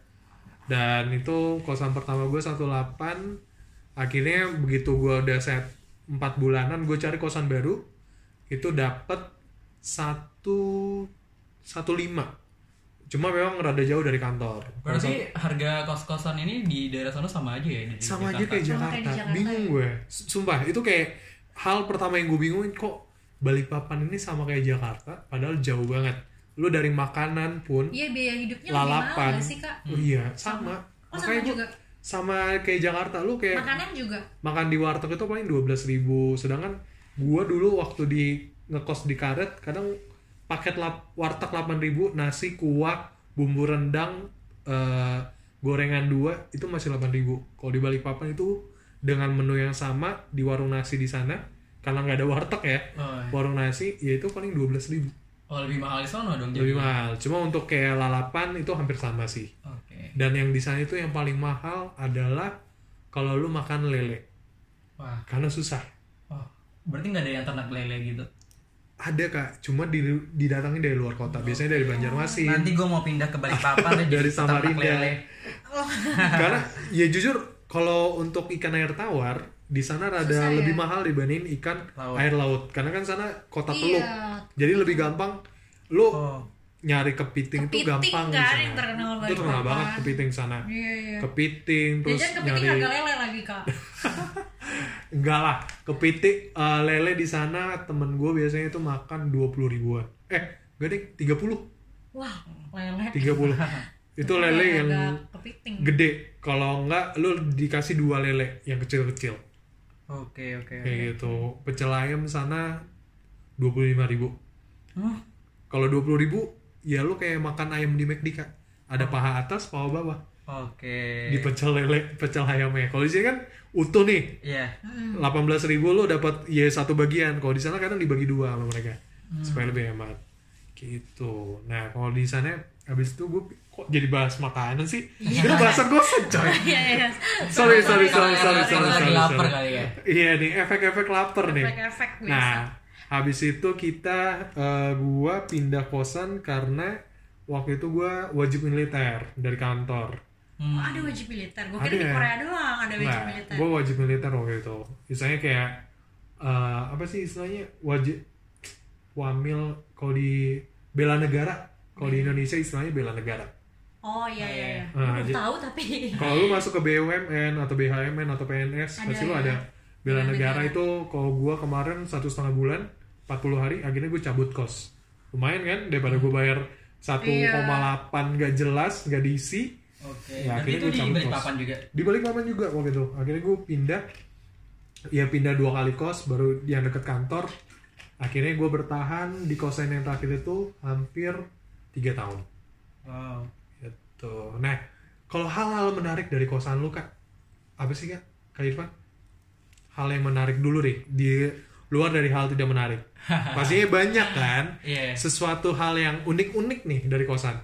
Speaker 2: dan itu kosan pertama gue 18 akhirnya begitu gue udah set 4 bulanan gue cari kosan baru itu dapet satu satu lima cuma memang rada jauh dari kantor
Speaker 3: Berarti harga kos-kosan ini di daerah sana sama aja ya? Di
Speaker 2: sama aja
Speaker 3: di
Speaker 2: kayak gitu.
Speaker 3: Jakarta?
Speaker 1: Sama
Speaker 2: Jakarta.
Speaker 1: kayak di Jakarta,
Speaker 2: bingung
Speaker 1: ya.
Speaker 2: gue S- sumpah itu kayak hal pertama yang gue bingungin kok Balikpapan ini sama kayak Jakarta padahal jauh banget lu dari makanan pun
Speaker 1: Iya biaya hidupnya lebih mahal
Speaker 2: lalapan
Speaker 1: gak sih kak?
Speaker 2: Oh iya sama,
Speaker 1: Oh sama
Speaker 2: makanya gue
Speaker 1: juga.
Speaker 2: sama kayak Jakarta lu kayak
Speaker 1: Makanan juga.
Speaker 2: makan di warteg itu paling 12.000 sedangkan gua dulu waktu di ngekos di karet kadang paket lap, warteg 8.000 nasi kuah bumbu rendang eh, gorengan dua itu masih 8.000 kalau di Balikpapan itu dengan menu yang sama di warung nasi di sana karena nggak ada warteg ya
Speaker 3: Oh, iya.
Speaker 2: warung nasi ya itu paling 12.000
Speaker 3: Oh, lebih mahal di sana dong
Speaker 2: lebih
Speaker 3: jadi?
Speaker 2: mahal cuma untuk kayak lalapan itu hampir sama sih
Speaker 3: Oke.
Speaker 2: dan yang di sana itu yang paling mahal adalah kalau lu makan lele
Speaker 3: Wah,
Speaker 2: karena susah
Speaker 3: wah. berarti nggak ada yang ternak lele gitu?
Speaker 2: ada kak cuma di, didatangin dari luar kota biasanya dari Banjarmasin
Speaker 3: Nanti gue mau pindah ke Balikpapan deh, jadi
Speaker 2: Iya. Dari
Speaker 3: ternak
Speaker 2: Samarinda.
Speaker 3: lele.
Speaker 2: karena ya jujur kalau untuk ikan air tawar di sana rada
Speaker 1: Susah, ya?
Speaker 2: lebih mahal dibanding ikan
Speaker 3: Laut.
Speaker 2: air laut karena kan sana kota teluk
Speaker 1: Iya.
Speaker 2: jadi lebih gampang lu
Speaker 3: Oh,
Speaker 2: nyari kepiting, itu
Speaker 1: Kepiting
Speaker 2: gampang di
Speaker 1: kan
Speaker 2: sana.
Speaker 1: yang terkenal
Speaker 2: itu terkenal
Speaker 1: Balikpapan.
Speaker 2: banget kepiting sana
Speaker 1: Iya iya.
Speaker 2: kepiting terus
Speaker 1: Jajan
Speaker 2: nyari
Speaker 1: kepiting harga lele lagi kak.
Speaker 2: enggak lah kepiting eh, lele di sana temen gue biasanya itu makan 20 ribuan eh gak deh 30
Speaker 1: Wah lele.
Speaker 2: 30 itu lele yang
Speaker 1: Harga kepiting.
Speaker 2: gede kalau enggak lu dikasih dua lele yang kecil-kecil
Speaker 3: oke oke.
Speaker 2: kayak gitu pecel ayam sana 25.000 ribu
Speaker 3: Hah?
Speaker 2: kalau 20.000 ribu ya lu kayak makan ayam di McD kak ada paha atas paha bawah
Speaker 3: Oh. Oke.
Speaker 2: di pecel lele pecel ayamnya kalau di sini kan utuh nih
Speaker 3: Iya.
Speaker 2: 18.000 ribu lu dapat ya satu bagian kalau di sana kadang dibagi dua sama mereka
Speaker 3: Hmm.
Speaker 2: supaya lebih hemat gitu nah kalau di sana habis itu gue kok jadi bahas makanan sih
Speaker 3: Iya.
Speaker 2: jadi bahasan gosip coy
Speaker 1: Iya iya.
Speaker 2: sorry sorry sorry sorry
Speaker 3: Karena
Speaker 2: sorry
Speaker 3: lagi
Speaker 2: sorry,
Speaker 3: lapar
Speaker 2: sorry.
Speaker 3: kali ya?
Speaker 2: iya nih efek-efek lapar nih
Speaker 1: Efek-efek biasa.
Speaker 2: nah habis itu kita eh, gua pindah kosan karena waktu itu gua wajib militer dari kantor
Speaker 3: Hmm,
Speaker 1: Oh, ada wajib militer. Gue kira
Speaker 2: Ada
Speaker 1: di
Speaker 2: ya?
Speaker 1: Korea doang ada wajib
Speaker 2: nah
Speaker 1: militer.
Speaker 2: gua wajib militer waktu itu istilahnya kayak eh, apa sih istilahnya wajib wamil kalau di bela negara
Speaker 1: Iya.
Speaker 2: kalau di Indonesia istilahnya bela negara
Speaker 1: Oh iya iya. iya.
Speaker 2: Nah,
Speaker 1: Gua belum
Speaker 2: jadi-
Speaker 1: tahu tapi.
Speaker 2: Kalau lu masuk ke BUMN atau BHMN atau PNS
Speaker 1: Ada,
Speaker 2: pasti lu
Speaker 1: ya.
Speaker 2: ada bela
Speaker 1: Bela
Speaker 2: negara
Speaker 1: negara.
Speaker 2: itu kalau gua kemarin satu setengah bulan 40 hari akhirnya gue cabut kos lumayan kan daripada gue bayar 1,8
Speaker 1: Iya.
Speaker 2: nggak jelas nggak diisi
Speaker 3: Oke.
Speaker 2: Ya, akhirnya
Speaker 3: Berarti itu
Speaker 2: gua
Speaker 3: di
Speaker 2: cabut
Speaker 3: Balikpapan juga.
Speaker 2: di balik papan juga waktu itu akhirnya gue pindah ya pindah dua kali kos baru yang deket kantor akhirnya gue bertahan di kosan yang terakhir itu hampir tiga tahun
Speaker 3: Wow.
Speaker 2: gitu nah kalau hal-hal menarik dari kosan lu kak apa sih kak kak Irfan hal yang menarik dulu deh di luar dari hal tidak menarik pastinya banyak kan
Speaker 3: Iya.
Speaker 2: sesuatu hal yang unik-unik nih dari kosan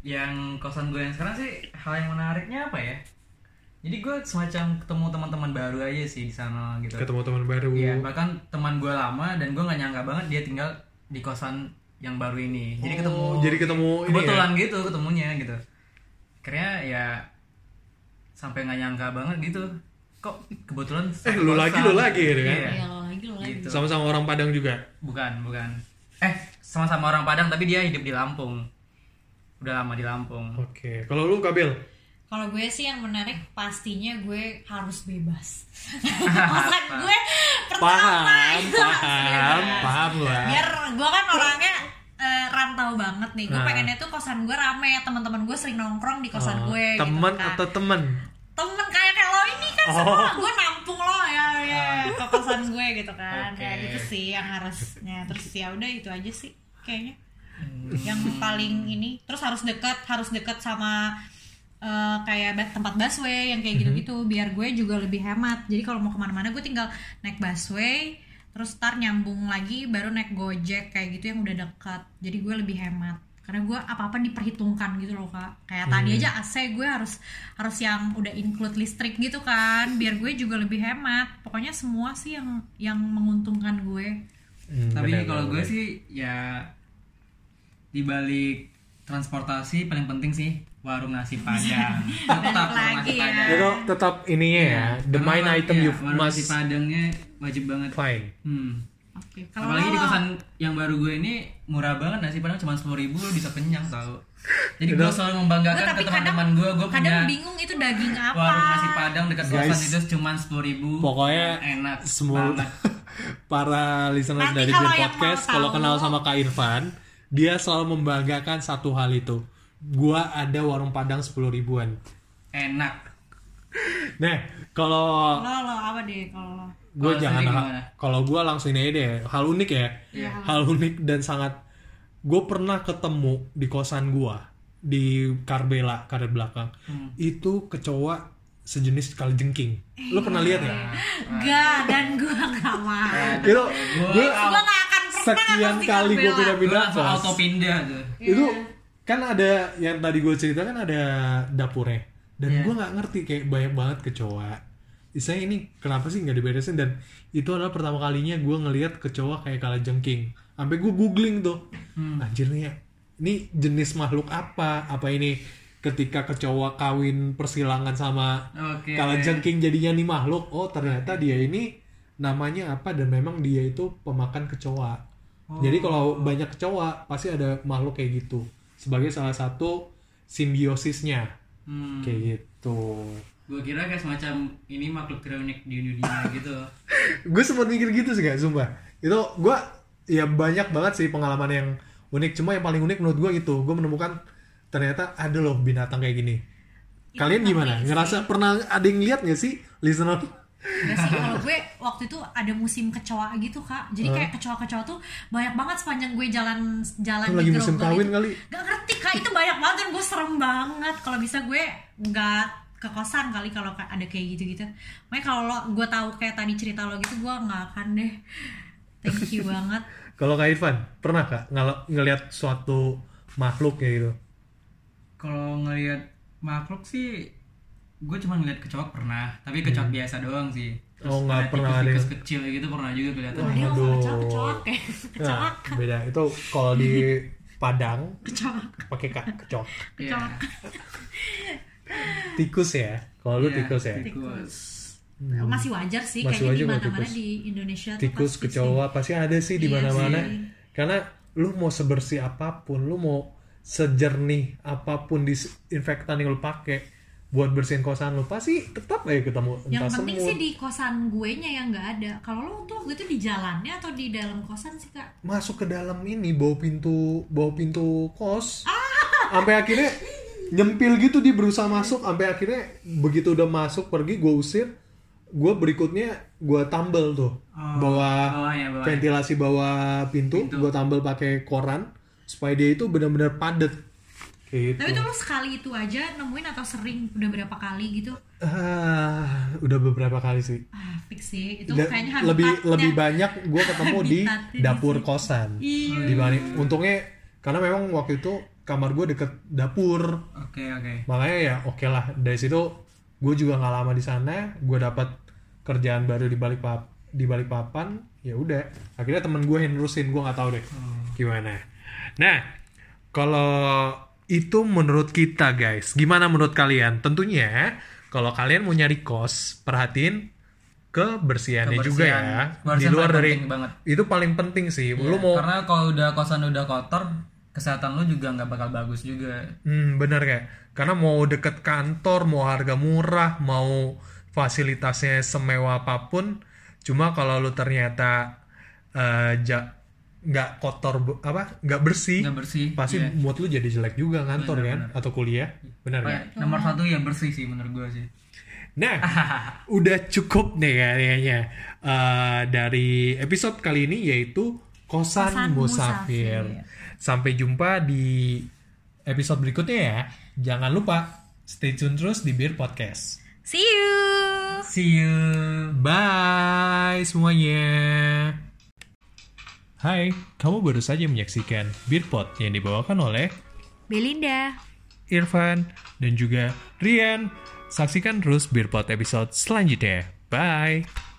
Speaker 3: yang kosan gue yang sekarang sih hal yang menariknya apa ya jadi gue semacam ketemu teman-teman baru aja sih di sana gitu
Speaker 2: ketemu teman baru
Speaker 3: Iya, bahkan teman gue lama dan gue nggak nyangka banget dia tinggal di kosan yang baru ini jadi ketemu
Speaker 2: Oh, jadi ketemu ini
Speaker 3: kebetulan gitu ketemunya gitu akhirnya ya sampai nggak nyangka banget gitu kok kebetulan
Speaker 2: eh
Speaker 3: satu
Speaker 2: lu
Speaker 3: kosan.
Speaker 2: lagi lu lagi gitu kan
Speaker 3: Iya.
Speaker 1: Iya lagi lo lagi.
Speaker 3: Gitu.
Speaker 2: sama-sama orang Padang juga
Speaker 3: Bukan, bukan. Eh, sama-sama orang Padang tapi dia hidup di Lampung. Udah lama di Lampung.
Speaker 2: oke kalau lu kabel
Speaker 1: Kalau gue sih yang menarik pastinya gue harus bebas. Masak gue pertama itu harus bebas.
Speaker 2: paham
Speaker 3: ah.
Speaker 2: lah
Speaker 1: Biar gue kan orangnya eh, rantau banget nih. Gue
Speaker 2: Nah.
Speaker 1: pengennya tuh kosan gue rame, teman-teman gue sering nongkrong di kosan
Speaker 2: Oh,
Speaker 1: gue.
Speaker 2: teman
Speaker 1: gitu, kan.
Speaker 2: atau Oh. temen
Speaker 1: temen kayak kayak lo ini kan semua gue nampung lo ya, ya ke kosan gue gitu kan. Ya
Speaker 3: Oke.
Speaker 1: gitu sih yang harusnya. Terus ya udah itu aja sih kayaknya. Yang paling ini terus harus dekat, harus dekat sama eh, kayak ba- tempat busway yang
Speaker 3: Mhm.
Speaker 1: kayak gitu-gitu biar gue juga lebih hemat. Jadi kalau mau kemana-mana gue tinggal naik busway terus tar nyambung lagi baru naik gojek kayak gitu yang udah dekat jadi gue lebih hemat karena gue apa apa diperhitungkan gitu loh kak kayak
Speaker 3: Mhm.
Speaker 1: tadi aja AC gue harus harus yang udah include listrik gitu kan biar gue juga lebih hemat pokoknya semua sih yang yang menguntungkan gue
Speaker 2: Hmm,
Speaker 3: tapi
Speaker 2: bener,
Speaker 3: kalau ya,
Speaker 2: bener,
Speaker 3: gue
Speaker 2: bener.
Speaker 3: sih ya di balik transportasi paling penting sih warung nasi padang tetap
Speaker 1: Balik
Speaker 3: warung
Speaker 1: lagi
Speaker 3: nasi
Speaker 1: ya.
Speaker 3: padang
Speaker 2: Itu tetap ininya ya, the main
Speaker 3: Warung-
Speaker 2: item
Speaker 3: iya,
Speaker 2: you
Speaker 3: warung nasi
Speaker 2: must
Speaker 3: padangnya wajib banget
Speaker 2: find.
Speaker 3: hmm.
Speaker 1: Oke, kalau
Speaker 3: apalagi di
Speaker 1: lo-
Speaker 3: kosan yang baru gue ini murah banget nasi padang cuma sepuluh ribu lo bisa kenyang tau jadi gue selalu
Speaker 1: Gue
Speaker 3: membanggakan
Speaker 1: tapi
Speaker 3: ke
Speaker 1: kadang
Speaker 3: teman-teman gue gue punya
Speaker 1: kadang bingung itu daging apa.
Speaker 3: warung nasi padang dekat kosan
Speaker 2: Guys,
Speaker 3: itu cuma sepuluh ribu
Speaker 2: Pokoknya
Speaker 3: enak
Speaker 2: semua
Speaker 3: banget
Speaker 2: para listeners
Speaker 1: Nanti
Speaker 2: dari Zen
Speaker 1: kalau yang
Speaker 2: Podcast
Speaker 1: mau
Speaker 2: kalau
Speaker 1: tahu-
Speaker 2: kenal sama Kak Irfan, dia selalu membanggakan satu hal itu. Gua ada warung Padang 10 ribuan.
Speaker 3: enak
Speaker 2: Nah, kalau
Speaker 1: Lo lo apa deh kalau lo?
Speaker 2: gue
Speaker 3: Kalau
Speaker 2: jangan
Speaker 3: sendiri gimana?
Speaker 2: kalau gue langsung ini deh hal unik ya
Speaker 3: Iya.
Speaker 2: hal unik dan sangat gue pernah ketemu di kosan gue di Karbela karet belakang
Speaker 3: Hmm.
Speaker 2: itu kecoa sejenis kali jengking lo pernah lihat nggak
Speaker 1: Gak dan gue gak mau.
Speaker 3: Nah.
Speaker 2: itu
Speaker 3: gue
Speaker 2: gue
Speaker 1: gue gak akan pernah
Speaker 2: sekian
Speaker 1: pasti
Speaker 2: kali gue
Speaker 1: ngebela.
Speaker 3: gue
Speaker 2: pindah-pindah
Speaker 3: langsung
Speaker 2: kos
Speaker 3: auto pindah tuh
Speaker 2: itu kan ada yang tadi gue cerita kan ada dapurnya dan
Speaker 3: Iya.
Speaker 2: gue nggak ngerti kayak banyak banget kecoa Istilahnya ini kenapa sih nggak diberesin dan itu adalah pertama kalinya gue ngelihat kecoa kayak kala jengking sampai gue googling tuh anjir nih ya, ini jenis makhluk apa apa ini ketika kecoa kawin persilangan sama
Speaker 3: oke Hmm.
Speaker 2: kala jengking jadinya nih makhluk oh ternyata dia ini namanya apa dan memang dia itu pemakan kecoa jadi kalau banyak kecoa pasti ada makhluk kayak gitu sebagai salah satu simbiosisnya
Speaker 3: Hmm.
Speaker 2: kayak gitu.
Speaker 3: Gue kira kayak semacam ini makhluk terunik di dunia gitu.
Speaker 2: Gue sempat mikir gitu sih gak sumpah. Itu gue ya banyak banget sih pengalaman yang unik. Cuma yang paling unik menurut gue itu gue menemukan ternyata ada loh binatang kayak gini. Kalian gimana? Ngerasa pernah ada yang lihat gak sih listener?
Speaker 1: Gak sih kalau gue waktu itu ada musim kecoa gitu kak jadi kayak kecoa-kecoa tuh banyak banget sepanjang gue jalan jalan
Speaker 2: Itu
Speaker 1: di
Speaker 2: lagi musim
Speaker 1: Grogol
Speaker 2: kawin
Speaker 1: itu.
Speaker 2: kali.
Speaker 1: gak ngerti kak itu banyak banget dan gue serem banget kalau bisa gue nggak ke kosan kali kalau ka- ada kayak gitu-gitu makanya kalau lo- gue tahu kayak tadi cerita lo gitu gue nggak akan deh thank you banget
Speaker 2: Kalau Kak Irfan, pernah kak ngel- ngelihat suatu makhluk kayak gitu?
Speaker 3: Kalau ngelihat makhluk sih gue cuma ngeliat kecoak pernah, tapi kecoak biasa doang sih.
Speaker 2: Oh, nggak
Speaker 3: Iya. ada
Speaker 2: pernah ada
Speaker 3: tikus-tikus kecil gitu pernah juga kelihatan.
Speaker 1: Wah, dia
Speaker 2: Aduh.
Speaker 1: ngomong kecoa kecoa kayak kecoa
Speaker 2: Nah, beda. Itu kalau di Padang
Speaker 1: kecoa
Speaker 2: pakai kak kecok.
Speaker 3: Iya.
Speaker 2: Tikus ya. Kalau lu
Speaker 3: Iya,
Speaker 2: tikus ya.
Speaker 3: Tikus.
Speaker 1: masih wajar sih
Speaker 2: Masih
Speaker 1: kayaknya
Speaker 2: wajar
Speaker 1: di
Speaker 2: kalau
Speaker 1: mana-mana
Speaker 2: tikus.
Speaker 1: di Indonesia tuh
Speaker 2: tikus
Speaker 1: pasti sih.
Speaker 2: kecoa pasti ada sih di
Speaker 1: Iya
Speaker 2: mana-mana
Speaker 1: sih.
Speaker 2: karena lu mau sebersih apapun lu mau sejernih apapun disinfektan yang lu pakai buat bersihin kosan lu pasti tetap aja ketemu
Speaker 1: Yang
Speaker 2: entah
Speaker 1: penting
Speaker 2: semut
Speaker 1: sih di kosan gue nya yang nggak ada. Kalau lo tuh waktu itu di jalannya atau di dalam kosan sih kak?
Speaker 2: masuk ke dalam ini bawa pintu bawa pintu kos
Speaker 1: Ah.
Speaker 2: sampai akhirnya nyempil gitu dia berusaha masuk sampai akhirnya begitu udah masuk pergi gue usir gue berikutnya gue tambel tuh
Speaker 3: Oh,
Speaker 2: bawa
Speaker 1: iya,
Speaker 3: Bawahnya, bawahnya.
Speaker 2: ventilasi bawah pintu,
Speaker 3: Pintu.
Speaker 2: gue tambal pakai koran supaya dia itu benar-benar padat kayak
Speaker 1: Tapi
Speaker 2: gitu
Speaker 1: itu lo sekali itu aja nemuin atau sering udah berapa kali gitu?
Speaker 2: Ah, udah beberapa kali sih
Speaker 1: Ah fix sih itu
Speaker 2: Dan
Speaker 1: kayaknya
Speaker 2: lebih
Speaker 1: habitatnya.
Speaker 2: lebih banyak gue ketemu di
Speaker 1: Habitatnya di
Speaker 2: dapur kosan
Speaker 1: Iya.
Speaker 2: dibanding untungnya karena memang waktu itu kamar gue deket dapur
Speaker 3: Oke, oke.
Speaker 2: makanya ya oke lah dari situ gue juga nggak lama di sana gue dapat kerjaan baru di balik pap di balik papan ya udah akhirnya temen gue yang nerusin gue nggak tahu deh
Speaker 3: Hmm.
Speaker 2: gimana nah kalau itu menurut kita guys gimana menurut kalian tentunya kalau kalian mau nyari kos perhatiin kebersihannya
Speaker 3: Kebersihan.
Speaker 2: juga ya di
Speaker 3: Kebersihan
Speaker 2: luar
Speaker 3: paling
Speaker 2: dari
Speaker 3: penting banget.
Speaker 2: itu paling penting sih lu
Speaker 3: Iya,
Speaker 2: mau
Speaker 3: Karena kalau udah kosan udah kotor, kesehatan lu juga nggak bakal bagus juga.
Speaker 2: Hmm, bener kayak karena mau deket kantor, mau harga murah, mau fasilitasnya semewah apapun, cuma kalau lu ternyata eh, ja- nggak kotor bu- apa nggak bersih,
Speaker 3: Nggak bersih.
Speaker 2: pasti
Speaker 3: iya.
Speaker 2: mood lu jadi jelek juga kantor kan atau kuliah, kan? bener nggak?
Speaker 3: Kayak Nomor satu ya bersih sih menurut gue sih.
Speaker 2: Nah, udah cukup nih kayaknya eh, dari episode kali ini yaitu kosan,
Speaker 1: Kosan
Speaker 2: musafir. Sampai jumpa di episode berikutnya ya. Jangan lupa stay tune terus di Beer Podcast.
Speaker 1: See you.
Speaker 3: See you.
Speaker 2: Bye semuanya. Hai, kamu baru saja menyaksikan Beer Pod yang dibawakan oleh
Speaker 1: Belinda.
Speaker 2: Irfan dan juga Rian. Saksikan terus Beer Pod episode selanjutnya. Bye.